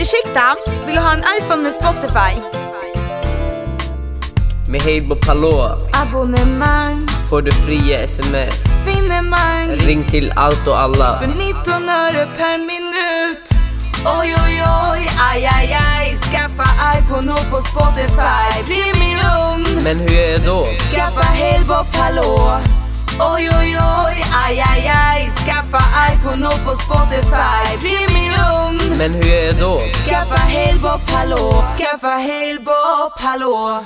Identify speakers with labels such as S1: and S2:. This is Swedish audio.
S1: Ursäkta, vill du ha en iPhone med Spotify?
S2: Med Hej Bob Hallå
S1: Abonnemang,
S2: får du fria sms.
S1: finemang,
S2: Ring till allt och alla.
S1: för 19 öre per minut. Oj, oj, oj, aj, aj, aj. Skaffa iPhone och på Spotify Premium.
S2: Men hur gör jag då?
S1: Skaffa Halebop Hallå. Oj, oj, oj, aj, aj, aj. Skaffa iPhone och på Spotify Premium.
S2: Men hur gör jag då?
S1: Skaffa Halebop Hallå. Skaffa Halebop Hallå.